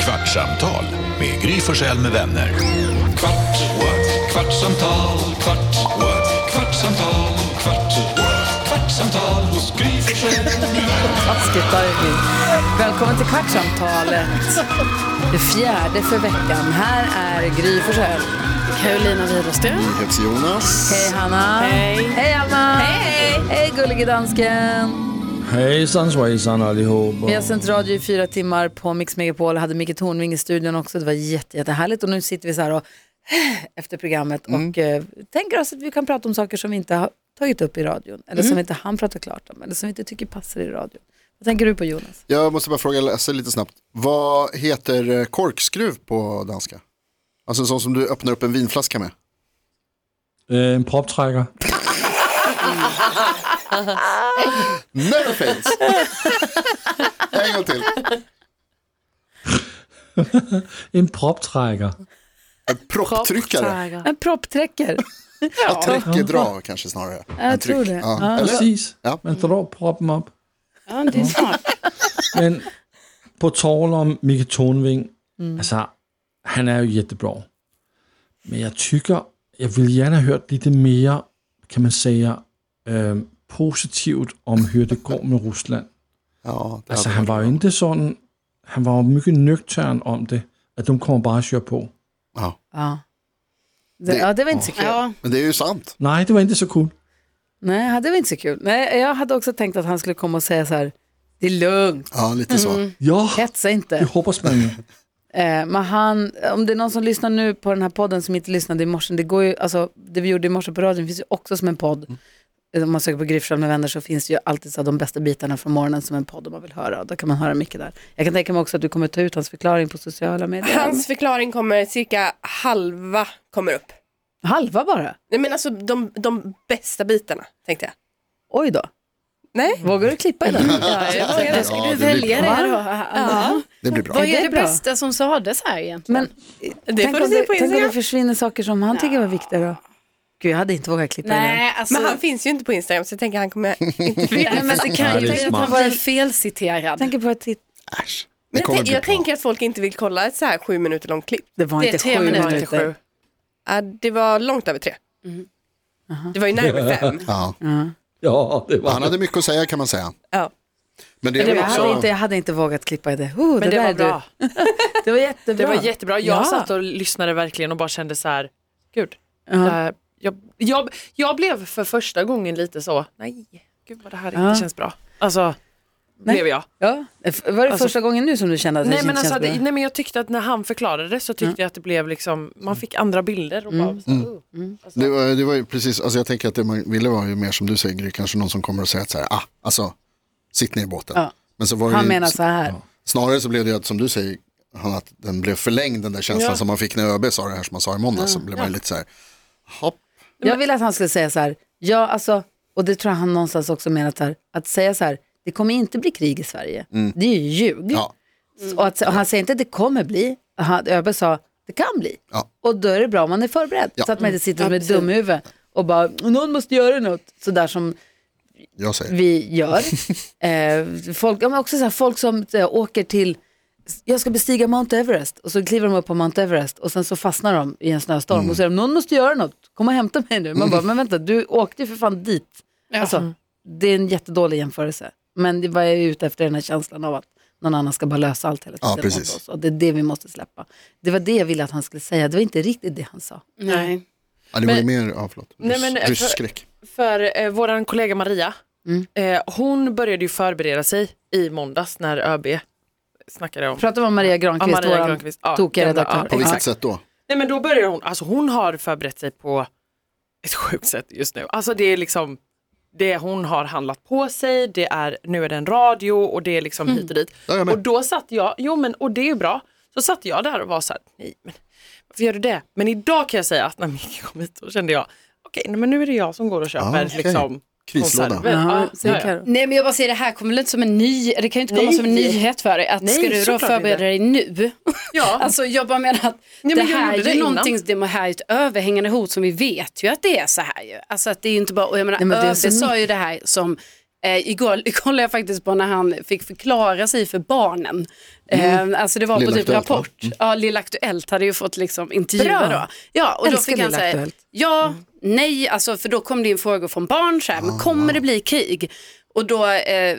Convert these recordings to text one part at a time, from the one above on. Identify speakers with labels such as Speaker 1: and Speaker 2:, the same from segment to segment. Speaker 1: Kvartsamtal med Gry Forssell med vänner. Kvart, what? kvartsamtal, kvart, what? kvartsamtal, kvart, what? kvartsamtal hos Gry Forssell med vänner.
Speaker 2: Taskigt Darby. Välkommen till Kvartsamtalet. Det fjärde för veckan. Här är Gry Forssell.
Speaker 3: Carolina Widerström.
Speaker 4: Jonas.
Speaker 2: Hej Hanna.
Speaker 3: Hej.
Speaker 2: Hej Alma. Hej. Hej gullige dansken.
Speaker 5: Hejsan svejsan allihop.
Speaker 2: Vi har sänt radio i fyra timmar på Mix Megapol. Hade Micke Tornving i studion också. Det var jätte, jättehärligt. Och nu sitter vi så här och efter programmet och eh, tänker oss att vi kan prata om saker som vi inte har tagit upp i radion. Eller som inte han pratar klart om. Eller som vi inte tycker passar i radion. Vad tänker du på Jonas?
Speaker 4: Jag måste bara fråga Lasse lite snabbt. Vad heter eh, korkskruv på danska? Alltså en sån som du öppnar upp en vinflaska med.
Speaker 5: Eh, en proppträckare.
Speaker 4: Never fails. en gång till.
Speaker 5: En proppträckare.
Speaker 4: En propptryckare.
Speaker 2: En proppträcker.
Speaker 4: Träcker dra kanske snarare.
Speaker 2: Jag
Speaker 4: En tryck.
Speaker 2: tror det.
Speaker 4: Ja. Eller?
Speaker 5: Precis.
Speaker 4: Ja.
Speaker 5: Man drar upp proppen upp.
Speaker 3: Ja, det är smart.
Speaker 5: Men på tal om Micke Tornving.
Speaker 4: Mm.
Speaker 5: Alltså, han är ju jättebra. Men jag tycker, jag vill gärna ha hört lite mer, kan man säga, eh, positivt om hur det går med Ryssland.
Speaker 4: Ja, det
Speaker 5: Alltså
Speaker 4: hade
Speaker 5: han
Speaker 4: varit
Speaker 5: var ju
Speaker 4: bra.
Speaker 5: inte sån, han var ju mycket nüchtern om det. Att de kommer bara att köra på.
Speaker 4: Ja.
Speaker 2: Ja. Det,
Speaker 4: Det-
Speaker 2: ja, det var inte så kul.
Speaker 3: Ja,
Speaker 4: Men det är ju sant.
Speaker 5: Nej, det var inte så kul.
Speaker 2: Nej, det var inte så kul. Nej, jag hade också tänkt att han skulle komma och säga så här, det är lugnt,
Speaker 4: Ja, lite så.
Speaker 5: Ja,
Speaker 2: hetsa inte.
Speaker 5: det hoppas man ju.
Speaker 2: Eh, men han, om det är någon som lyssnar nu på den här podden som inte lyssnade i morse, det, går ju, alltså, det vi gjorde i morse på radion finns ju också som en podd.
Speaker 4: Mm.
Speaker 2: Om man söker på Gryfsjön med vänner så finns det ju alltid så här, de bästa bitarna från morgonen som en podd om man vill höra. Då kan man höra mycket där. Jag kan tänka mig också att du kommer ta ut hans förklaring på sociala medier.
Speaker 6: Hans förklaring kommer cirka halva kommer upp.
Speaker 2: Halva bara?
Speaker 6: Nej men alltså de, de bästa bitarna tänkte jag.
Speaker 2: Oj då.
Speaker 6: Nej?
Speaker 2: Vågar du klippa i den?
Speaker 3: ja, jag vågar. Jag
Speaker 4: Ja,
Speaker 3: skulle
Speaker 4: det blir
Speaker 3: välja
Speaker 4: bra.
Speaker 3: det då.
Speaker 4: Det blir bra.
Speaker 3: Vad
Speaker 2: det
Speaker 3: är det
Speaker 2: bra?
Speaker 3: bästa som sades här egentligen?
Speaker 2: Men
Speaker 6: Det
Speaker 2: tänk,
Speaker 6: får du
Speaker 2: om
Speaker 6: se
Speaker 2: det,
Speaker 6: på
Speaker 2: tänk om det
Speaker 6: Instagram.
Speaker 2: försvinner saker som han tycker var viktiga då? Gud, jag hade inte vågat klippa i den.
Speaker 3: Nej, alltså.
Speaker 6: Men han finns ju inte på Instagram så jag tänker han kommer inte veta.
Speaker 3: nej, men det
Speaker 5: Ja,
Speaker 3: kan ju
Speaker 5: det är
Speaker 3: tänka att
Speaker 5: smart.
Speaker 3: han var felciterad.
Speaker 2: Jag tänker på att titta.
Speaker 4: Äsch. Det
Speaker 6: Men
Speaker 4: kommer
Speaker 6: jag,
Speaker 4: bli
Speaker 6: tän- jag
Speaker 4: bra.
Speaker 6: tänker att folk inte vill kolla ett så här sju minuter långt klipp.
Speaker 2: Det var
Speaker 3: Det är
Speaker 2: inte
Speaker 3: tre
Speaker 2: sju
Speaker 3: minuter
Speaker 2: minuter.
Speaker 3: till sju.
Speaker 6: Ja, det var långt över tre. Det var ju närmare fem.
Speaker 4: Ja.
Speaker 5: Ja, det var
Speaker 4: Han hade mycket att säga kan man säga.
Speaker 6: Ja.
Speaker 4: Men det är
Speaker 2: Jag,
Speaker 4: väl
Speaker 2: hade
Speaker 4: också...
Speaker 2: inte, jag hade inte vågat klippa i det. Oh,
Speaker 7: Men det,
Speaker 2: där
Speaker 7: var
Speaker 2: är du.
Speaker 7: bra.
Speaker 2: Det var jättebra.
Speaker 7: Det var jättebra. Jag
Speaker 2: Ja.
Speaker 7: satt och lyssnade verkligen och bara kände så här, gud. det här- jag, jag, jag blev för första gången lite så, nej, gud vad det här
Speaker 2: Ja.
Speaker 7: inte känns bra. Alltså, blev jag.
Speaker 2: Ja. F- Var det
Speaker 7: Alltså-
Speaker 2: första gången nu som du kände att det
Speaker 7: Nej
Speaker 2: inte
Speaker 7: men, alltså,
Speaker 2: känns
Speaker 7: det,
Speaker 2: bra?
Speaker 7: nej men jag tyckte att när han förklarade det så tyckte jag att det blev liksom, man fick andra bilder
Speaker 2: Mm.
Speaker 7: och bara, så, oh.
Speaker 4: Det var, det var ju precis, alltså jag tänker att det man ville var ju mer som du säger Gry, kanske någon som kommer och säger att så här, ah, alltså, sitt ner i båten.
Speaker 2: Ja.
Speaker 4: Men så var det
Speaker 2: Han
Speaker 4: ju,
Speaker 2: menar så här.
Speaker 4: Snarare så blev det ju att, som du säger, han, att den blev förlängd den där känslan som man fick när ÖB sa det här som man sa i måndags, så blev man ju lite så här, hopp.
Speaker 2: Jag ville att han skulle säga så här, ja alltså, och det tror jag han någonstans också menat här, att säga så här, det kommer inte bli krig i Sverige. Det är ju ljug.
Speaker 4: Ja,
Speaker 2: Och, att, och han säger inte att det kommer bli, han, ÖB sa det kan bli.
Speaker 4: Ja.
Speaker 2: Och då är det bra om man är förberedd.
Speaker 4: Ja.
Speaker 2: Så att man inte sitter som ett dumhuvud och bara, någon måste göra något. Sådär som
Speaker 4: jag säger.
Speaker 2: vi gör. eh, folk, ja, men också så här, folk som eh, åker till, jag ska bestiga Mount Everest och så kliver de upp på Mount Everest och sen så fastnar de i en snöstorm
Speaker 4: Mm.
Speaker 2: och så säger de, någon måste göra något, kom och hämta mig nu. Man bara, men vänta, du åkte ju för fan dit. Alltså, det är en jättedålig jämförelse. Men det var jag är ute efter den här känslan av att någon annan ska bara lösa allt hela tiden
Speaker 4: Ja, precis.
Speaker 2: åt oss. Och det är det vi måste släppa. Det var det jag ville att han skulle säga, det var inte riktigt det han sa.
Speaker 3: Nej.
Speaker 4: Ja, det var ju mer, ja förlåt,
Speaker 7: Nej, men-
Speaker 4: Ryss- rysk
Speaker 7: för-
Speaker 4: skräck.
Speaker 7: För eh, våran kollega Maria,
Speaker 2: Mm.
Speaker 7: eh, hon började ju förbereda sig i måndags när ÖB snackade om
Speaker 2: Pratar vi om Maria
Speaker 7: Ja,
Speaker 2: Granqvist,
Speaker 7: Maria
Speaker 2: våran
Speaker 7: Granqvist. Ja,
Speaker 2: tokiga
Speaker 7: gamla-
Speaker 2: redaktör.
Speaker 4: På vilket
Speaker 2: Exakt.
Speaker 4: sätt då?
Speaker 7: Nej men då börjar hon, alltså hon har förberett sig på ett sjukt sätt just nu. Alltså det är liksom, det hon har handlat på sig, det är, nu är det en radio och det är liksom hit och dit.
Speaker 4: Mm. Ja, jag med.
Speaker 7: och då satt jag, jo men och det är ju bra, så satt jag där och var så här, nej men varför gör du det? Men idag kan jag säga att när Micke kom hit så kände jag, okej nej, men nu är det jag som går och köper
Speaker 4: Ah, okej.
Speaker 7: liksom
Speaker 4: Krislåda.
Speaker 7: konserver.
Speaker 2: Ja,
Speaker 7: Ja,
Speaker 2: så är
Speaker 7: ja, ja.
Speaker 2: Karo.
Speaker 3: Nej men jag bara säger det här kommer väl inte som en ny, det kan ju inte komma
Speaker 7: Nej.
Speaker 3: som en nyhet för dig att
Speaker 7: Nej,
Speaker 3: ska du då
Speaker 7: såklart
Speaker 3: förbereda
Speaker 7: inte.
Speaker 3: dig nu?
Speaker 7: Ja.
Speaker 3: Alltså jag bara menar att
Speaker 7: Nej, men
Speaker 3: det
Speaker 7: jag
Speaker 3: här
Speaker 7: gjorde
Speaker 3: är
Speaker 7: det
Speaker 3: ju
Speaker 7: innan.
Speaker 3: någonting, det här är ju ett överhängande hot som vi vet ju att det är så här ju. Alltså att det är ju inte bara, och jag menar
Speaker 2: Nej, men det är
Speaker 3: ÖB
Speaker 2: så
Speaker 3: sa
Speaker 2: mycket.
Speaker 3: ju det här som Eh, igår kollade jag faktiskt på när han fick förklara sig för barnen. Eh, alltså det var
Speaker 4: Lilla
Speaker 3: på typ
Speaker 4: Aktuellt, va?
Speaker 3: Rapport. Ja, Lilla Aktuellt hade ju fått liksom intervjua
Speaker 2: Bra.
Speaker 3: då. Ja, och då
Speaker 2: Älskar
Speaker 3: fick han
Speaker 2: Lilla
Speaker 3: säga,
Speaker 2: Aktuellt.
Speaker 3: ja,
Speaker 2: Mm.
Speaker 3: nej, alltså för då kom det in frågor från barn så
Speaker 2: Ah.
Speaker 3: här, men kommer det bli krig? Och då eh,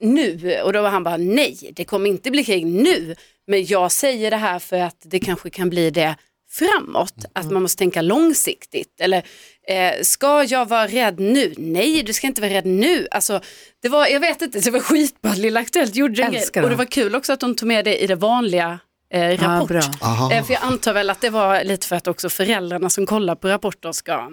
Speaker 3: nu, och då var han bara nej, det kommer inte bli krig nu, men jag säger det här för att det kanske kan bli det framåt, att
Speaker 2: Mm.
Speaker 3: man måste tänka långsiktigt. Eller eh, ska jag vara rädd nu? Nej, du ska inte vara rädd nu. Alltså, det var, jag vet inte, det var skitbra, Lilla Aktuellt gjorde en grej.
Speaker 2: Älskar
Speaker 3: Och
Speaker 2: det.
Speaker 3: det var kul också att de tog med det i det vanliga eh, Rapport.
Speaker 2: bra.
Speaker 4: Aha.
Speaker 3: Eh, för jag antar väl att det var lite för att också föräldrarna som kollar på Rapporter ska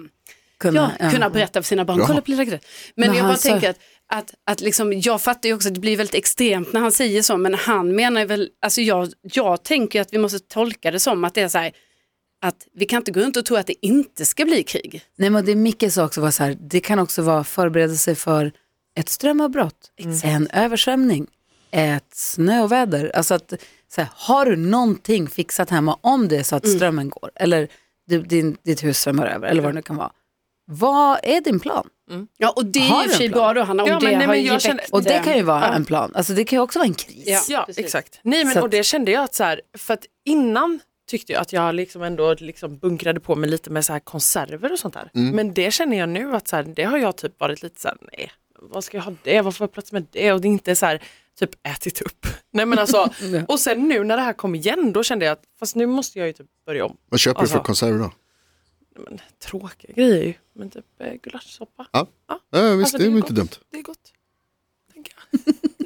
Speaker 2: Kunna,
Speaker 3: ja, kunna berätta för sina barn.
Speaker 4: Ja.
Speaker 3: Kolla på Lilla Gret. Men
Speaker 2: Men
Speaker 3: jag
Speaker 2: han
Speaker 3: bara
Speaker 2: sa-
Speaker 3: tänker att, att, att liksom, jag fattar ju också att det blir väldigt extremt när han säger så, men han menar väl, alltså jag, jag tänker ju att vi måste tolka det som att det är så här, att vi kan inte gå runt och tro att det inte ska bli krig.
Speaker 2: Nej, men det Micke sa också var så här, det kan också vara förberedelse för ett strömavbrott, en översvämning, ett snöoväder. Alltså att, så här, har du någonting fixat hemma om det är så att strömmen går eller du, din, ditt hus strömmar över eller vad det nu kan vara. Vad är din plan?
Speaker 3: Ja, och det
Speaker 2: Har du
Speaker 3: är ju
Speaker 2: en
Speaker 3: för sig
Speaker 2: plan?
Speaker 3: bra då, Hanna, om
Speaker 7: Ja,
Speaker 3: det
Speaker 7: men nej,
Speaker 3: har
Speaker 7: men
Speaker 3: ju
Speaker 7: jag
Speaker 3: väckt
Speaker 7: känner-
Speaker 2: Och det kan ju vara
Speaker 3: Ja.
Speaker 2: en plan, alltså det kan ju också vara en kris.
Speaker 3: Ja.
Speaker 7: Ja,
Speaker 3: precis.
Speaker 7: exakt. Nej, men,
Speaker 2: Så att-
Speaker 7: och det kände jag att så här, för att innan tyckte jag att jag liksom ändå liksom bunkrade på mig lite med så här konserver och sånt där. Men det känner jag nu att så här, det har jag typ varit lite så här, nej, vad ska jag ha det, vad får jag plats med det och det är inte så här typ ätit upp. Nej men alltså, och sen nu när det här kom igen då kände jag att fast nu måste jag ju typ börja om.
Speaker 4: Vad köper du för
Speaker 7: Alltså.
Speaker 4: konserver då?
Speaker 7: Men, tråkiga grejer ju, men typ eh, gulaschsoppa.
Speaker 4: Ja, ja visst,
Speaker 7: Alltså,
Speaker 4: det är
Speaker 7: ju
Speaker 4: väl inte dumt.
Speaker 7: gott. Det är gott. tänker jag.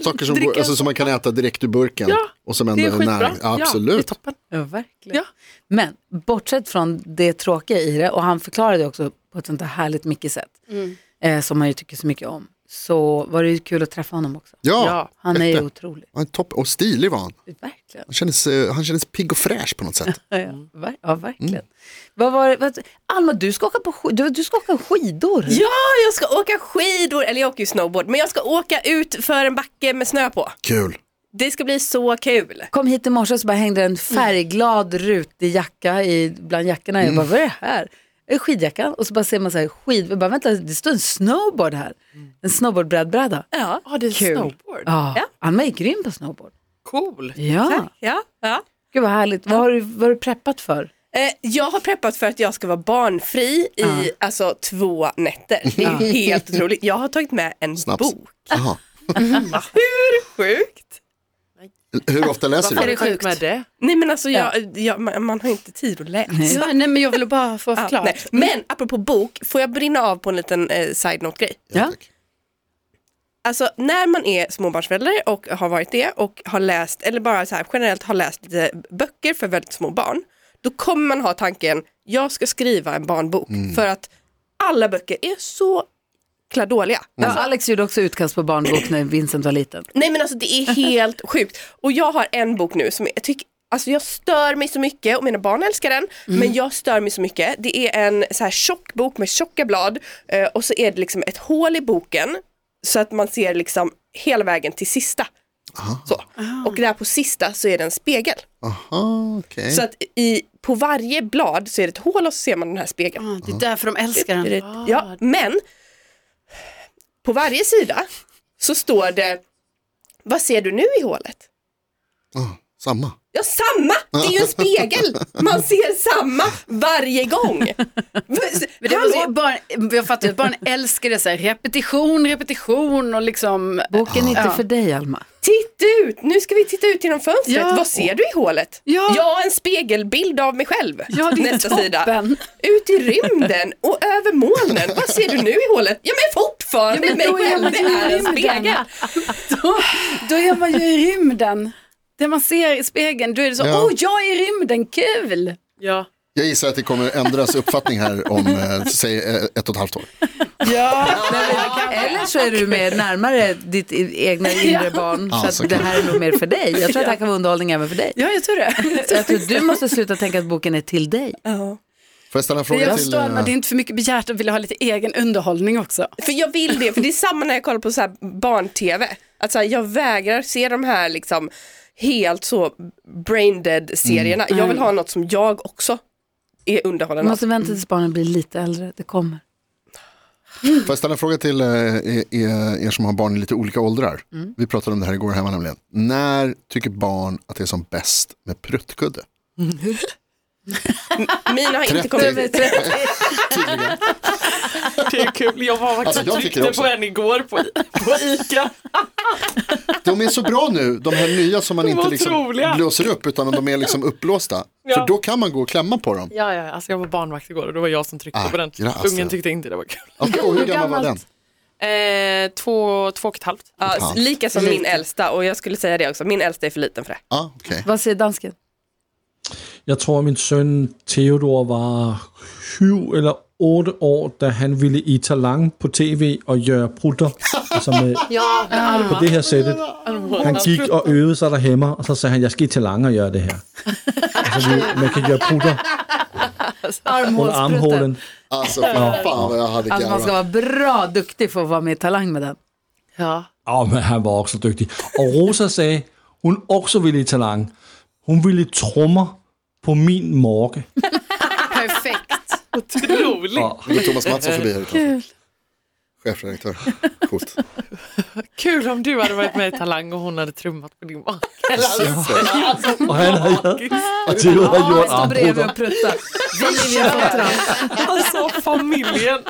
Speaker 4: Saker som,
Speaker 7: Dricka
Speaker 4: går, alltså,
Speaker 7: en
Speaker 4: som man kan äta direkt ur burken.
Speaker 7: Ja,
Speaker 4: och som ändå
Speaker 7: Det är
Speaker 4: är
Speaker 7: skitbra.
Speaker 4: näring.
Speaker 7: Ja, det är
Speaker 4: Absolut.
Speaker 7: toppen.
Speaker 2: Ja, verkligen.
Speaker 7: Ja.
Speaker 2: Men bortsett från det tråkiga i det, och han förklarade det också på ett sånt där härligt Micke-sätt, eh, som man ju tycker så mycket om, så var det ju kul att träffa honom också.
Speaker 4: ja,
Speaker 7: Ja.
Speaker 2: Han är ju
Speaker 4: Jätte.
Speaker 2: otrolig.
Speaker 4: han är topp. Och stilig var han.
Speaker 2: Verkligen.
Speaker 4: Han kändes, eh, han kändes pigg och fräsch på något sätt.
Speaker 2: Ja, Mm. ja. Ver- ja verkligen. Vad var det? Vad, Alma, du ska åka, på sk- du, du ska åka skidor.
Speaker 6: Ja, jag ska åka skidor, eller jag åker ju snowboard, men jag ska åka ut för en backe med snö på.
Speaker 4: Kul.
Speaker 6: Det ska bli så kul.
Speaker 2: Kom hit i morse så bara hängde en färgglad rutig jacka i, bland jackorna. Jag bara, vad är det här? En skidjacka. Och så bara ser man så här, skid... Jag bara, vänta, det står en snowboard här. En snowboardbrädbräda.
Speaker 6: Ja,
Speaker 7: Ja, det är
Speaker 2: Kul.
Speaker 7: snowboard.
Speaker 2: Mm. Ja.
Speaker 6: Ja.
Speaker 2: Alma är grym på snowboard.
Speaker 7: Cool.
Speaker 2: Ja.
Speaker 6: ja, ja.
Speaker 2: Gud vad härligt. Vad har du, vad har du preppat för?
Speaker 6: Eh, jag har preppat för att jag ska vara barnfri i alltså, två nätter. Det är helt otroligt. Jag har tagit med en
Speaker 4: Snaps.
Speaker 6: bok.
Speaker 4: Jaha.
Speaker 6: Sjukt!
Speaker 4: Hur ofta läser
Speaker 7: Varför
Speaker 4: du?
Speaker 7: är det sjukt? Med det?
Speaker 6: Nej men alltså jag, jag, man, man har inte tid att läsa.
Speaker 3: Ja, nej, men jag ville bara få
Speaker 6: Ja,
Speaker 3: förklarat.
Speaker 6: nej. Men apropå bok, får jag brinna av på en liten eh, side note-grej?
Speaker 2: Ja. Mm.
Speaker 4: tack.
Speaker 6: Alltså när man är småbarnsförälder och har varit det och har läst, eller bara så här generellt har läst lite böcker för väldigt små barn, då kommer man ha tanken, jag ska skriva en barnbok för att alla böcker är så jäkla dåliga.
Speaker 2: Ja, Alex gjorde också utkast på barnbok när Vincent var liten.
Speaker 6: Nej men alltså det är helt sjukt. Och jag har en bok nu som jag tycker, alltså jag stör mig så mycket och mina barn älskar den,
Speaker 3: Mm.
Speaker 6: men jag stör mig så mycket. Det är en så här tjock bok med tjocka blad eh, och så är det liksom ett hål i boken så att man ser liksom hela vägen till sista. Så.
Speaker 3: Ah.
Speaker 6: Och där på sista så är det en spegel.
Speaker 4: Aha, okej.
Speaker 6: Så att i, på varje blad så är det ett hål och så ser man den här spegeln.
Speaker 3: Ja, Ah, det är därför de älskar
Speaker 6: Är
Speaker 3: den.
Speaker 6: det- Ja, men på varje sida så står det vad ser du nu i hålet?
Speaker 4: Ah, samma.
Speaker 6: Ja, samma! Det är ju en spegel! Man ser samma varje gång.
Speaker 3: Men det var,
Speaker 6: Hallå?
Speaker 3: Alltså, barn, jag fattar ju att barn älskar det, så här, repetition, repetition och liksom...
Speaker 2: Boken är inte
Speaker 3: Ja.
Speaker 2: för dig Alma.
Speaker 6: Titta ut! Nu ska vi titta ut genom fönstret.
Speaker 3: Ja.
Speaker 6: Vad ser du i hålet?
Speaker 3: Ja.
Speaker 6: en spegelbild av mig själv.
Speaker 3: Ja, det är
Speaker 6: Nästa
Speaker 3: toppen.
Speaker 6: sida. Ut i rymden och över molnen. Vad ser du nu i hålet? Ja, men fortfarande mig
Speaker 3: då är
Speaker 6: själv.
Speaker 3: man
Speaker 6: Det
Speaker 3: ju i
Speaker 6: är en spegel.
Speaker 3: rymden. Då, då är man ju i rymden. Det man ser i spegeln, då är det så, åh,
Speaker 4: Ja.
Speaker 3: oh, jag är i rymden, kul!
Speaker 7: Ja.
Speaker 4: Jag gissar att det kommer ändras uppfattning här om eh, säg, eh, ett och ett halvt år.
Speaker 2: Eller så är du mer närmare ditt i- egna inre barn.
Speaker 4: Ja,
Speaker 2: Så att
Speaker 4: så
Speaker 2: det
Speaker 4: kan
Speaker 2: här är nog mer för dig. Jag tror att det här kan vara underhållning även för dig.
Speaker 3: Ja, jag tror det.
Speaker 2: Så jag tror att du måste sluta tänka att boken är till dig.
Speaker 4: Får jag ställa en fråga
Speaker 3: Jag
Speaker 4: till?
Speaker 3: förstår, men
Speaker 4: eh,
Speaker 3: det är inte för mycket begärt att vilja ha lite egen underhållning också.
Speaker 6: För jag vill det, för det är samma när jag kollar på så här barn-tv. Att så här, jag vägrar se de här liksom helt så brain dead serierna. Jag vill ha något som jag också är
Speaker 2: Du
Speaker 6: underhållen av.
Speaker 2: måste vänta tills barnen blir lite äldre. Det kommer.
Speaker 4: Får jag ställa en fråga till eh, er, er som har barn i lite olika åldrar?
Speaker 7: Mm.
Speaker 4: Vi pratade om det här igår hemma nämligen. När tycker barn att det är som bäst med pruttkudde?
Speaker 6: Mina har inte kommit ut.
Speaker 4: Tydligen.
Speaker 7: Det är kul. Jag var faktiskt
Speaker 4: Alltså, jag tycker
Speaker 7: och tryckte
Speaker 4: också.
Speaker 7: på en igår på, på ICA.
Speaker 4: De är så bra nu, de här nya som man
Speaker 7: De
Speaker 4: inte
Speaker 7: var
Speaker 4: liksom
Speaker 7: otroliga.
Speaker 4: blåser upp utan de är liksom uppblåsta.
Speaker 7: Ja.
Speaker 4: För då kan man gå och klämma på dem.
Speaker 7: Ja, ja, alltså jag var barnvakt igår och det var jag som tryckte
Speaker 4: Ah,
Speaker 7: på den.
Speaker 4: gracias.
Speaker 7: Ungen tyckte inte det var kul.
Speaker 4: Okay, och hur gammal var den?
Speaker 2: gammalt?
Speaker 7: Eh, två, två och ett halvt.
Speaker 6: Ja,
Speaker 4: Fan.
Speaker 6: lika som min äldsta och jag skulle säga det också, min äldsta är för liten för det.
Speaker 4: Ja, okej.
Speaker 2: Vad säger dansken?
Speaker 5: Jeg tror, min søn Theodor var syv eller otte år, da han ville i talang på tv og gøre prutter altså med, på det her sættet. Han gik og øvede sig derhjemme, og så sagde han, jeg skal i talang og gøre det her. Altså, vi- man kan gøre prutter under
Speaker 2: Armhålsprutten.
Speaker 5: armhålen.
Speaker 4: Alltså fy fan vad jag hade
Speaker 2: Alltså man ska
Speaker 4: garvat.
Speaker 2: vara bra duktig för att vara med i Talang med den.
Speaker 7: Ja.
Speaker 5: Åh, men han var også dygtig. Og Rosa sagde, hun også ville i talang. Hun ville i trommer på min morge.
Speaker 3: Perfekt.
Speaker 7: Otroligt.
Speaker 5: Og
Speaker 4: Nu går Thomas Mattsson förbi här utanför. Chefredaktör. Coolt.
Speaker 7: Kul om du hade varit med i Talang och hon hade trummat på din man.
Speaker 5: Og han havde, og Theo havde gjort
Speaker 2: Stå bredvid
Speaker 5: armbrutter.
Speaker 2: och prutta. Vi vill få tramp.
Speaker 7: Alltså familjen.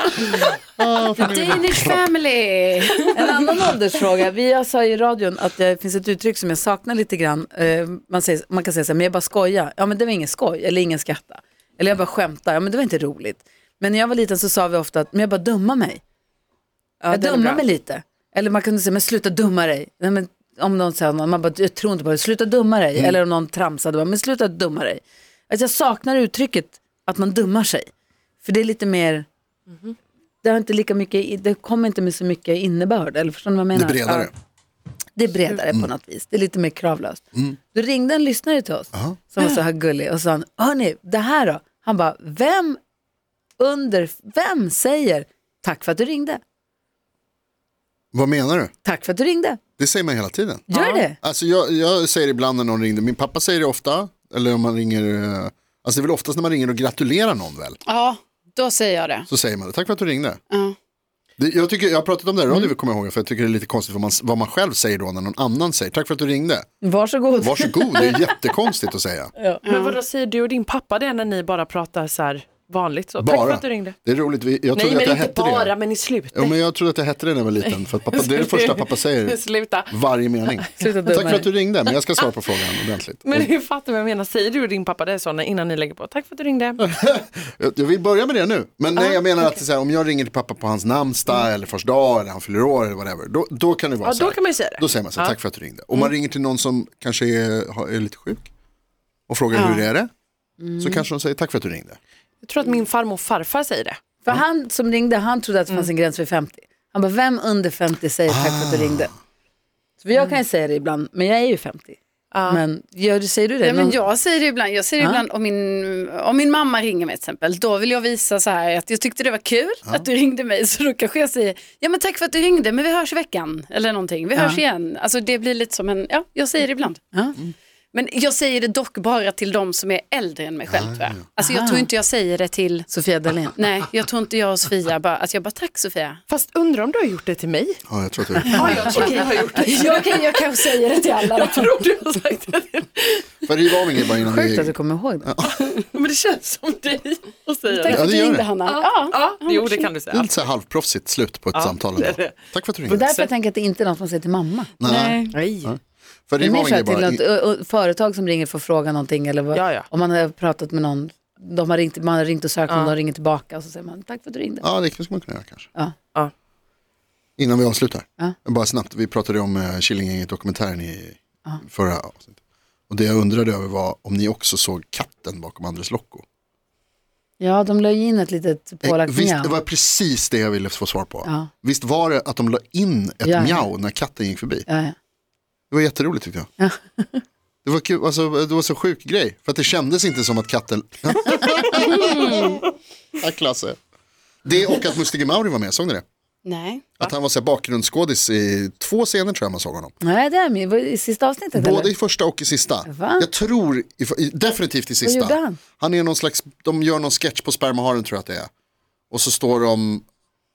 Speaker 3: Danish family.
Speaker 2: En annan åldersfråga. Vi jag sa i radion att det finns ett uttryck som jag saknar lite grann. Eh, Man, säger, man kan säga så här, men jag bara skojar. Ja, men det var ingen skoj, eller ingen skratta. Eller jag bara skämtar, ja men det var inte roligt. Men när jag var liten så sa vi ofta att, men jag bara dummar mig. jag
Speaker 6: den är
Speaker 2: dummar
Speaker 6: bra.
Speaker 2: mig lite. Eller man kunde säga, men sluta dumma dig. Nej, men, om någon säger något, man bara, jag tror inte på det, sluta dumma dig.
Speaker 6: Mm.
Speaker 2: Eller om någon tramsade, bara, men sluta dumma dig. Att jag saknar uttrycket att man dummar sig. För det är lite mer
Speaker 6: Mm-hmm.
Speaker 2: det, har inte lika mycket, det kommer inte med så mycket innebörd. Eller förstår ni vad jag
Speaker 4: Det är
Speaker 2: menar?
Speaker 4: bredare. Mm.
Speaker 2: Ja, det är bredare på något vis. Det är lite mer kravlöst. Då ringde en lyssnare till oss som var så här gullig och sa han, hörni, det här då? Han bara, vem under, vem säger tack för att du ringde?
Speaker 4: Vad menar du?
Speaker 2: Tack för att du ringde.
Speaker 4: Det säger man hela tiden.
Speaker 2: Gör det?
Speaker 4: Alltså jag, jag säger ibland när någon ringer, min pappa säger det ofta, eller om man ringer, eh, alltså det är väl oftast när man ringer och gratulerar någon väl,
Speaker 3: Ja, då säger jag det.
Speaker 4: så säger man det, tack för att du ringde.
Speaker 3: Ja.
Speaker 4: Det, jag, tycker, jag har pratat om det i radio, kommer jag ihåg, för jag tycker det är lite konstigt vad man, vad man själv säger då när någon annan säger, tack för att du ringde.
Speaker 2: Varsågod.
Speaker 4: Varsågod, det är jättekonstigt att säga.
Speaker 7: Men vadå säger du och din pappa det när ni bara pratar så här vanligt? Så. Tack för
Speaker 4: Bara.
Speaker 7: att du ringde.
Speaker 4: Det är roligt, vi- jag
Speaker 7: Nej
Speaker 4: trodde
Speaker 7: men
Speaker 4: att jag
Speaker 7: inte
Speaker 4: hette
Speaker 7: bara,
Speaker 4: det.
Speaker 7: men i slutet.
Speaker 4: Jo, men jag trodde att jag hette det när jag var liten, för att pappa, det är det första pappa säger
Speaker 7: Sluta.
Speaker 4: varje mening.
Speaker 2: Sluta dumma
Speaker 4: Tack för
Speaker 2: dig.
Speaker 4: att du ringde, men jag ska svara på frågan ordentligt.
Speaker 7: Men du fattar vad jag menar. Säger du och din pappa det är så när- innan ni lägger på? Tack för att du ringde.
Speaker 4: Jag jag vill börja med det nu. Men nej, jag menar att så här, om jag ringer till pappa på hans namnsdag eller första dag eller han fyller år eller whatever, då, då kan det vara
Speaker 7: Mm. Ja,
Speaker 4: så
Speaker 7: då
Speaker 4: här.
Speaker 7: kan man ju säga det. Mm.
Speaker 4: Då säger man så här, tack för att du ringde. Om man ringer till någon som kanske är, har- är lite sjuk och frågar hur är det,
Speaker 7: Mm.
Speaker 4: så kanske de säger tack för att du ringde.
Speaker 7: Jag tror att min farmor och farfar säger det.
Speaker 2: För han som ringde, han trodde att det fanns en gräns vid 50. Han bara, vem under 50 säger tack för att
Speaker 4: Ah.
Speaker 2: du ringde? Så jag kan ju säga det ibland, men jag är ju 50. Men gör, du- säger du det?
Speaker 3: Ja, men
Speaker 2: Någon-
Speaker 3: jag säger det ibland, jag säger det
Speaker 2: Ja.
Speaker 3: ibland om, min, om min mamma ringer mig till exempel, då vill jag visa så här att jag tyckte det var kul att du ringde mig, så då kanske jag säger, ja men tack för att du ringde, men vi hörs i veckan, eller någonting, vi hörs igen. Alltså det blir lite som en, ja, jag säger det ibland.
Speaker 2: Ja.
Speaker 3: Men jag säger det dock bara till de som är äldre än mig själv, tror jag. Alltså jag tror inte jag säger det till,
Speaker 2: Sofia Dalén.
Speaker 3: nej, jag tror inte jag och Sofia bara, alltså jag bara, tack Sofia.
Speaker 7: Fast undrar om du har gjort det till mig?
Speaker 4: Ja, jag tror att du...
Speaker 3: Jag, kan, jag kanske säger det till alla. då.
Speaker 7: Tror du har sagt det? till-
Speaker 4: För att riva av en grej bara innan
Speaker 2: Sjukt
Speaker 4: vi...
Speaker 2: att du kommer ihåg det.
Speaker 7: Men det känns som dig att
Speaker 3: Tack
Speaker 7: säga det.
Speaker 4: Ja,
Speaker 3: för att
Speaker 4: det
Speaker 3: du
Speaker 4: gör
Speaker 3: ringde
Speaker 4: det.
Speaker 3: Hanna. Ja.
Speaker 7: Ja, jo det kan du
Speaker 4: Det är
Speaker 7: säga.
Speaker 4: lite så här halvproffsigt slut på ett samtal.
Speaker 7: det är
Speaker 4: ändå.
Speaker 7: det.
Speaker 4: Tack för att du
Speaker 2: Och
Speaker 4: ringde.
Speaker 2: därför jag tänker att det inte är något man säger till mamma.
Speaker 4: Nej.
Speaker 2: Nej.
Speaker 4: För att
Speaker 2: Det är
Speaker 4: riva
Speaker 2: mer
Speaker 4: av
Speaker 2: så
Speaker 4: en
Speaker 2: här
Speaker 4: grej
Speaker 2: till
Speaker 4: bara...
Speaker 2: något ö, ö, företag som ringer för att fråga någonting eller vad,
Speaker 7: Ja, ja.
Speaker 2: om man har pratat med någon. De har ringt, man har ringt och sökt och de ringer tillbaka och så säger man tack för att du ringde.
Speaker 4: Ja, det skulle man kunna göra kanske.
Speaker 2: Ja.
Speaker 7: Ja.
Speaker 4: Innan vi avslutar,
Speaker 2: Ja.
Speaker 4: bara snabbt, vi pratade om eh, Killinggänget-dokumentären i förra avsnittet. Och det jag undrade över var om ni också såg katten bakom Andres Lokko.
Speaker 2: Ja, de la ju in ett litet
Speaker 4: Eh,
Speaker 2: pålagt
Speaker 4: Visst, det
Speaker 2: mjau.
Speaker 4: var precis det jag ville få svar på.
Speaker 2: Ja.
Speaker 4: Visst var det att de la in ett
Speaker 2: Ja.
Speaker 4: mjau när katten gick förbi?
Speaker 2: Ja, ja.
Speaker 4: Det var jätteroligt tyckte jag. Det var kul, alltså, det var så sjuk grej, för att det kändes inte som att katten... Tack Lasse. Det och att Mustige Mauri var med, såg ni det?
Speaker 3: Nej.
Speaker 4: Att han var så här bakgrundsskådis i två scener tror jag man såg honom.
Speaker 2: Nej, det är min, var det i sista avsnittet
Speaker 4: Både
Speaker 2: eller?
Speaker 4: i första och i sista.
Speaker 2: Va?
Speaker 4: Jag tror, i, i- definitivt i sista.
Speaker 2: gjorde han?
Speaker 4: är någon slags, de gör någon sketch på spermaharen tror jag att det är. Och så står de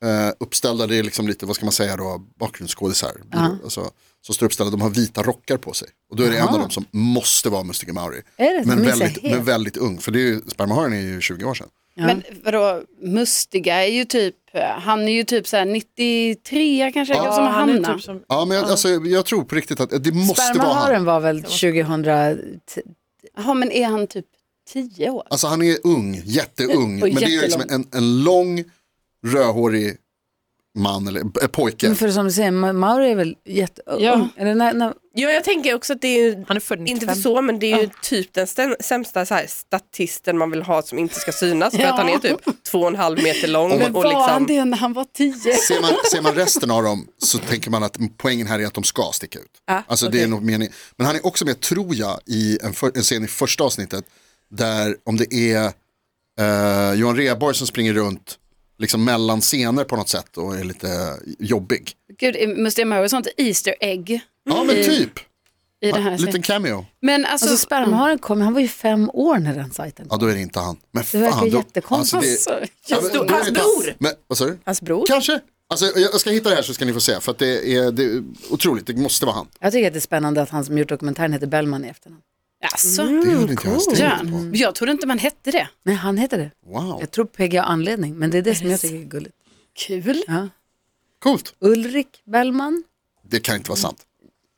Speaker 4: eh, uppställda, det är liksom lite, vad ska man säga då, bakgrundsskådisar. Alltså, som står uppställda, de har vita rockar på sig. Och då är det en av dem som måste vara Mustiga Mauri.
Speaker 2: Är det?
Speaker 4: men,
Speaker 2: De är så
Speaker 4: väldigt,
Speaker 2: het.
Speaker 4: men väldigt ung, för det är ju, Sperma Haren är ju 20 år sedan.
Speaker 3: Men vadå, Mustiga är ju typ, han är ju typ så här 93 kanske, som har
Speaker 7: Han är
Speaker 3: hamnat.
Speaker 7: typ som,
Speaker 4: Ja, men jag, alltså, jag tror på riktigt att det måste vara han.
Speaker 2: Spermaharen var väl 2010?
Speaker 3: Jaha, men är han typ 10 år?
Speaker 4: Alltså han är ung, jätteung.
Speaker 3: Och
Speaker 4: men det är ju liksom en, en lång, rödhårig man eller eh, pojke.
Speaker 2: Men för som du säger, Ma- Mauri är väl jätteung?
Speaker 3: Ja.
Speaker 2: Eller när, när,
Speaker 6: Ja, jag tänker också att det är ju
Speaker 7: han är född 95.
Speaker 6: inte för så, men det är ju typ den stäm- sämsta så här, statisten man vill ha som inte ska synas för att han är typ två och en halv meter lång.
Speaker 4: Men
Speaker 6: och
Speaker 3: Var han
Speaker 6: liksom,
Speaker 3: det när han var 10?
Speaker 4: Ser man, ser man resten av dem så tänker man att poängen här är att de ska sticka ut.
Speaker 3: Ah,
Speaker 4: alltså det är nog mening. Men han är också med, tror jag, i en, för, en scen i första avsnittet där om det är eh, Johan Rheborg som springer runt liksom mellan scener på något sätt och är lite jobbig.
Speaker 3: Gud, är Mustiga Mauri sånt Easter egg
Speaker 4: Ja men typ,
Speaker 3: Mm. i det här?
Speaker 4: liten cameo.
Speaker 3: Men alltså,
Speaker 2: alltså spermaharen kom, han var ju fem år när den sajten
Speaker 4: Ja
Speaker 2: kom.
Speaker 4: då är det inte han. Men fan,
Speaker 2: verkar
Speaker 4: då-
Speaker 2: jättekonstigt.
Speaker 4: alltså, det-
Speaker 3: Mm.
Speaker 6: Hans
Speaker 4: men då
Speaker 6: do-
Speaker 4: är
Speaker 6: hans
Speaker 4: det inte-
Speaker 6: bror.
Speaker 4: Men, vad sa du?
Speaker 6: hans bror.
Speaker 4: Kanske. Alltså, jag ska hitta det här så ska ni få se. För att det är, det är otroligt, det måste vara han.
Speaker 2: Jag tycker att det är spännande att han som gjort dokumentären heter Bellman i efternamn.
Speaker 3: alltså
Speaker 2: Mm.
Speaker 4: Det hade inte jag ens tänkt på.
Speaker 3: Björn, jag trodde inte man hette det.
Speaker 2: Nej, han heter det.
Speaker 4: Wow,
Speaker 2: Jag tror PG har anledning, men det är det som jag tycker är gulligt.
Speaker 3: Kul.
Speaker 2: Ja.
Speaker 4: coolt.
Speaker 2: Ulrik Bellman.
Speaker 4: Det kan inte vara sant.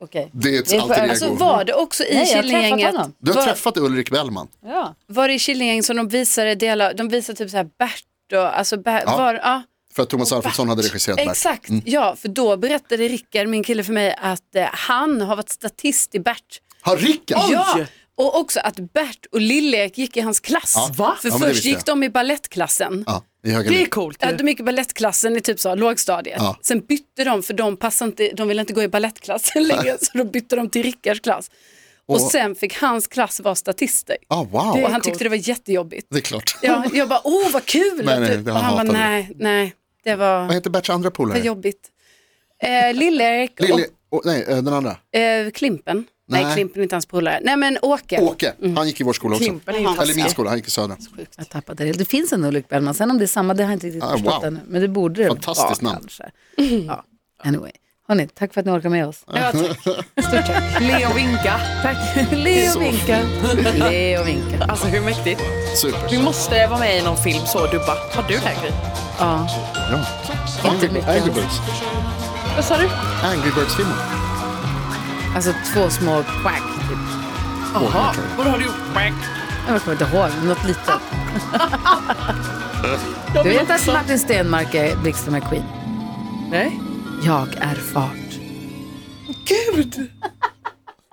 Speaker 2: Okej.
Speaker 4: Det är ett
Speaker 2: Det är för-
Speaker 4: alter ego.
Speaker 3: Alltså var det också i
Speaker 2: Nej, jag har
Speaker 3: Killinggänget,
Speaker 2: träffat honom.
Speaker 4: Du har
Speaker 3: var-
Speaker 4: träffat Ulrik Bellman.
Speaker 2: Ja.
Speaker 3: var det i Killinggänget som de visade delar, de visade typ så här Bert och, alltså Bert,
Speaker 4: Ja.
Speaker 3: var, ja.
Speaker 4: För att Thomas Alfredsson hade regisserat Bert. Mm.
Speaker 3: Exakt, ja, för då berättade Rickard, min kille för mig, att eh, han har varit statist i Bert.
Speaker 4: Har Rickard?
Speaker 3: Ja, och också att Bert och Lillek gick i hans klass.
Speaker 4: Ja. Va?
Speaker 3: För
Speaker 4: Ja, men det
Speaker 3: först
Speaker 4: visste
Speaker 3: gick
Speaker 4: jag.
Speaker 3: de i ballettklassen.
Speaker 4: Ja, i höger
Speaker 7: Det är
Speaker 4: liv.
Speaker 7: coolt.
Speaker 3: Ja,
Speaker 7: ju.
Speaker 3: de gick i ballettklassen i typ så, lågstadiet.
Speaker 4: Ja.
Speaker 3: Sen bytte de för de, passade inte, de ville inte gå i ballettklassen längre så då bytte de till Rickards klass. Och,
Speaker 4: Och-
Speaker 3: sen fick hans klass vara statister.
Speaker 4: Ah, wow,
Speaker 3: och han tyckte det var jättejobbigt.
Speaker 4: det är klart.
Speaker 3: Ja, jag bara, åh vad kul!
Speaker 4: Nej,
Speaker 3: att
Speaker 4: nej,
Speaker 3: du-"
Speaker 4: det-
Speaker 3: och
Speaker 4: han
Speaker 3: han bara,
Speaker 4: hatade
Speaker 3: nej,
Speaker 4: det.
Speaker 3: nej, det var
Speaker 4: Vad heter Berts andra
Speaker 3: för
Speaker 4: polare?
Speaker 3: jobbigt. Eh, Lill-Erik
Speaker 4: Lille, och, nej, eh, den andra.
Speaker 3: och eh, Klimpen. Nej.
Speaker 4: Nej.
Speaker 3: Klimpen är inte hans polare. Nej, men Åke.
Speaker 4: Åke, han gick i vår skola också.
Speaker 7: Klimpen är ju
Speaker 4: Eller min
Speaker 7: taskig.
Speaker 4: skola, han gick i Södra.
Speaker 2: Jag tappade det. Det finns en Ulrik Bellman, sen om det är samma, det har jag inte riktigt
Speaker 4: Ah,
Speaker 2: förstått
Speaker 4: wow.
Speaker 2: ännu. Men det borde det
Speaker 4: Fantastiskt
Speaker 2: vara
Speaker 4: namn.
Speaker 2: kanske. Ja. Anyway. Hörni, tack för att ni orkar med oss.
Speaker 7: Leo Vinka.
Speaker 2: Leo vinka. Leo vinka.
Speaker 7: Alltså hur mäktigt.
Speaker 4: Super.
Speaker 7: Vi måste vara med i någon film så du bara, har du det här Gry?
Speaker 2: Ja.
Speaker 4: Ja. Angry, Angry Birds.
Speaker 7: Vad sa du?
Speaker 4: Angry Birds-filmen.
Speaker 2: Alltså två små quack. Typ.
Speaker 7: Jaha, vad har du gjort?
Speaker 2: Jag kommer inte ihåg, något litet. du vet att Martin Stenmark är Blixten McQueen?
Speaker 7: Nej.
Speaker 2: Jag är fart.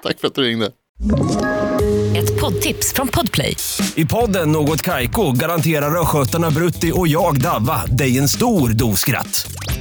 Speaker 4: Tack för att du ringde.
Speaker 8: Ett poddtips från Podplay.
Speaker 9: I podden Något Kaiko garanterar östgötarna Brutti och jag, Davva, dig en stor dos skratt.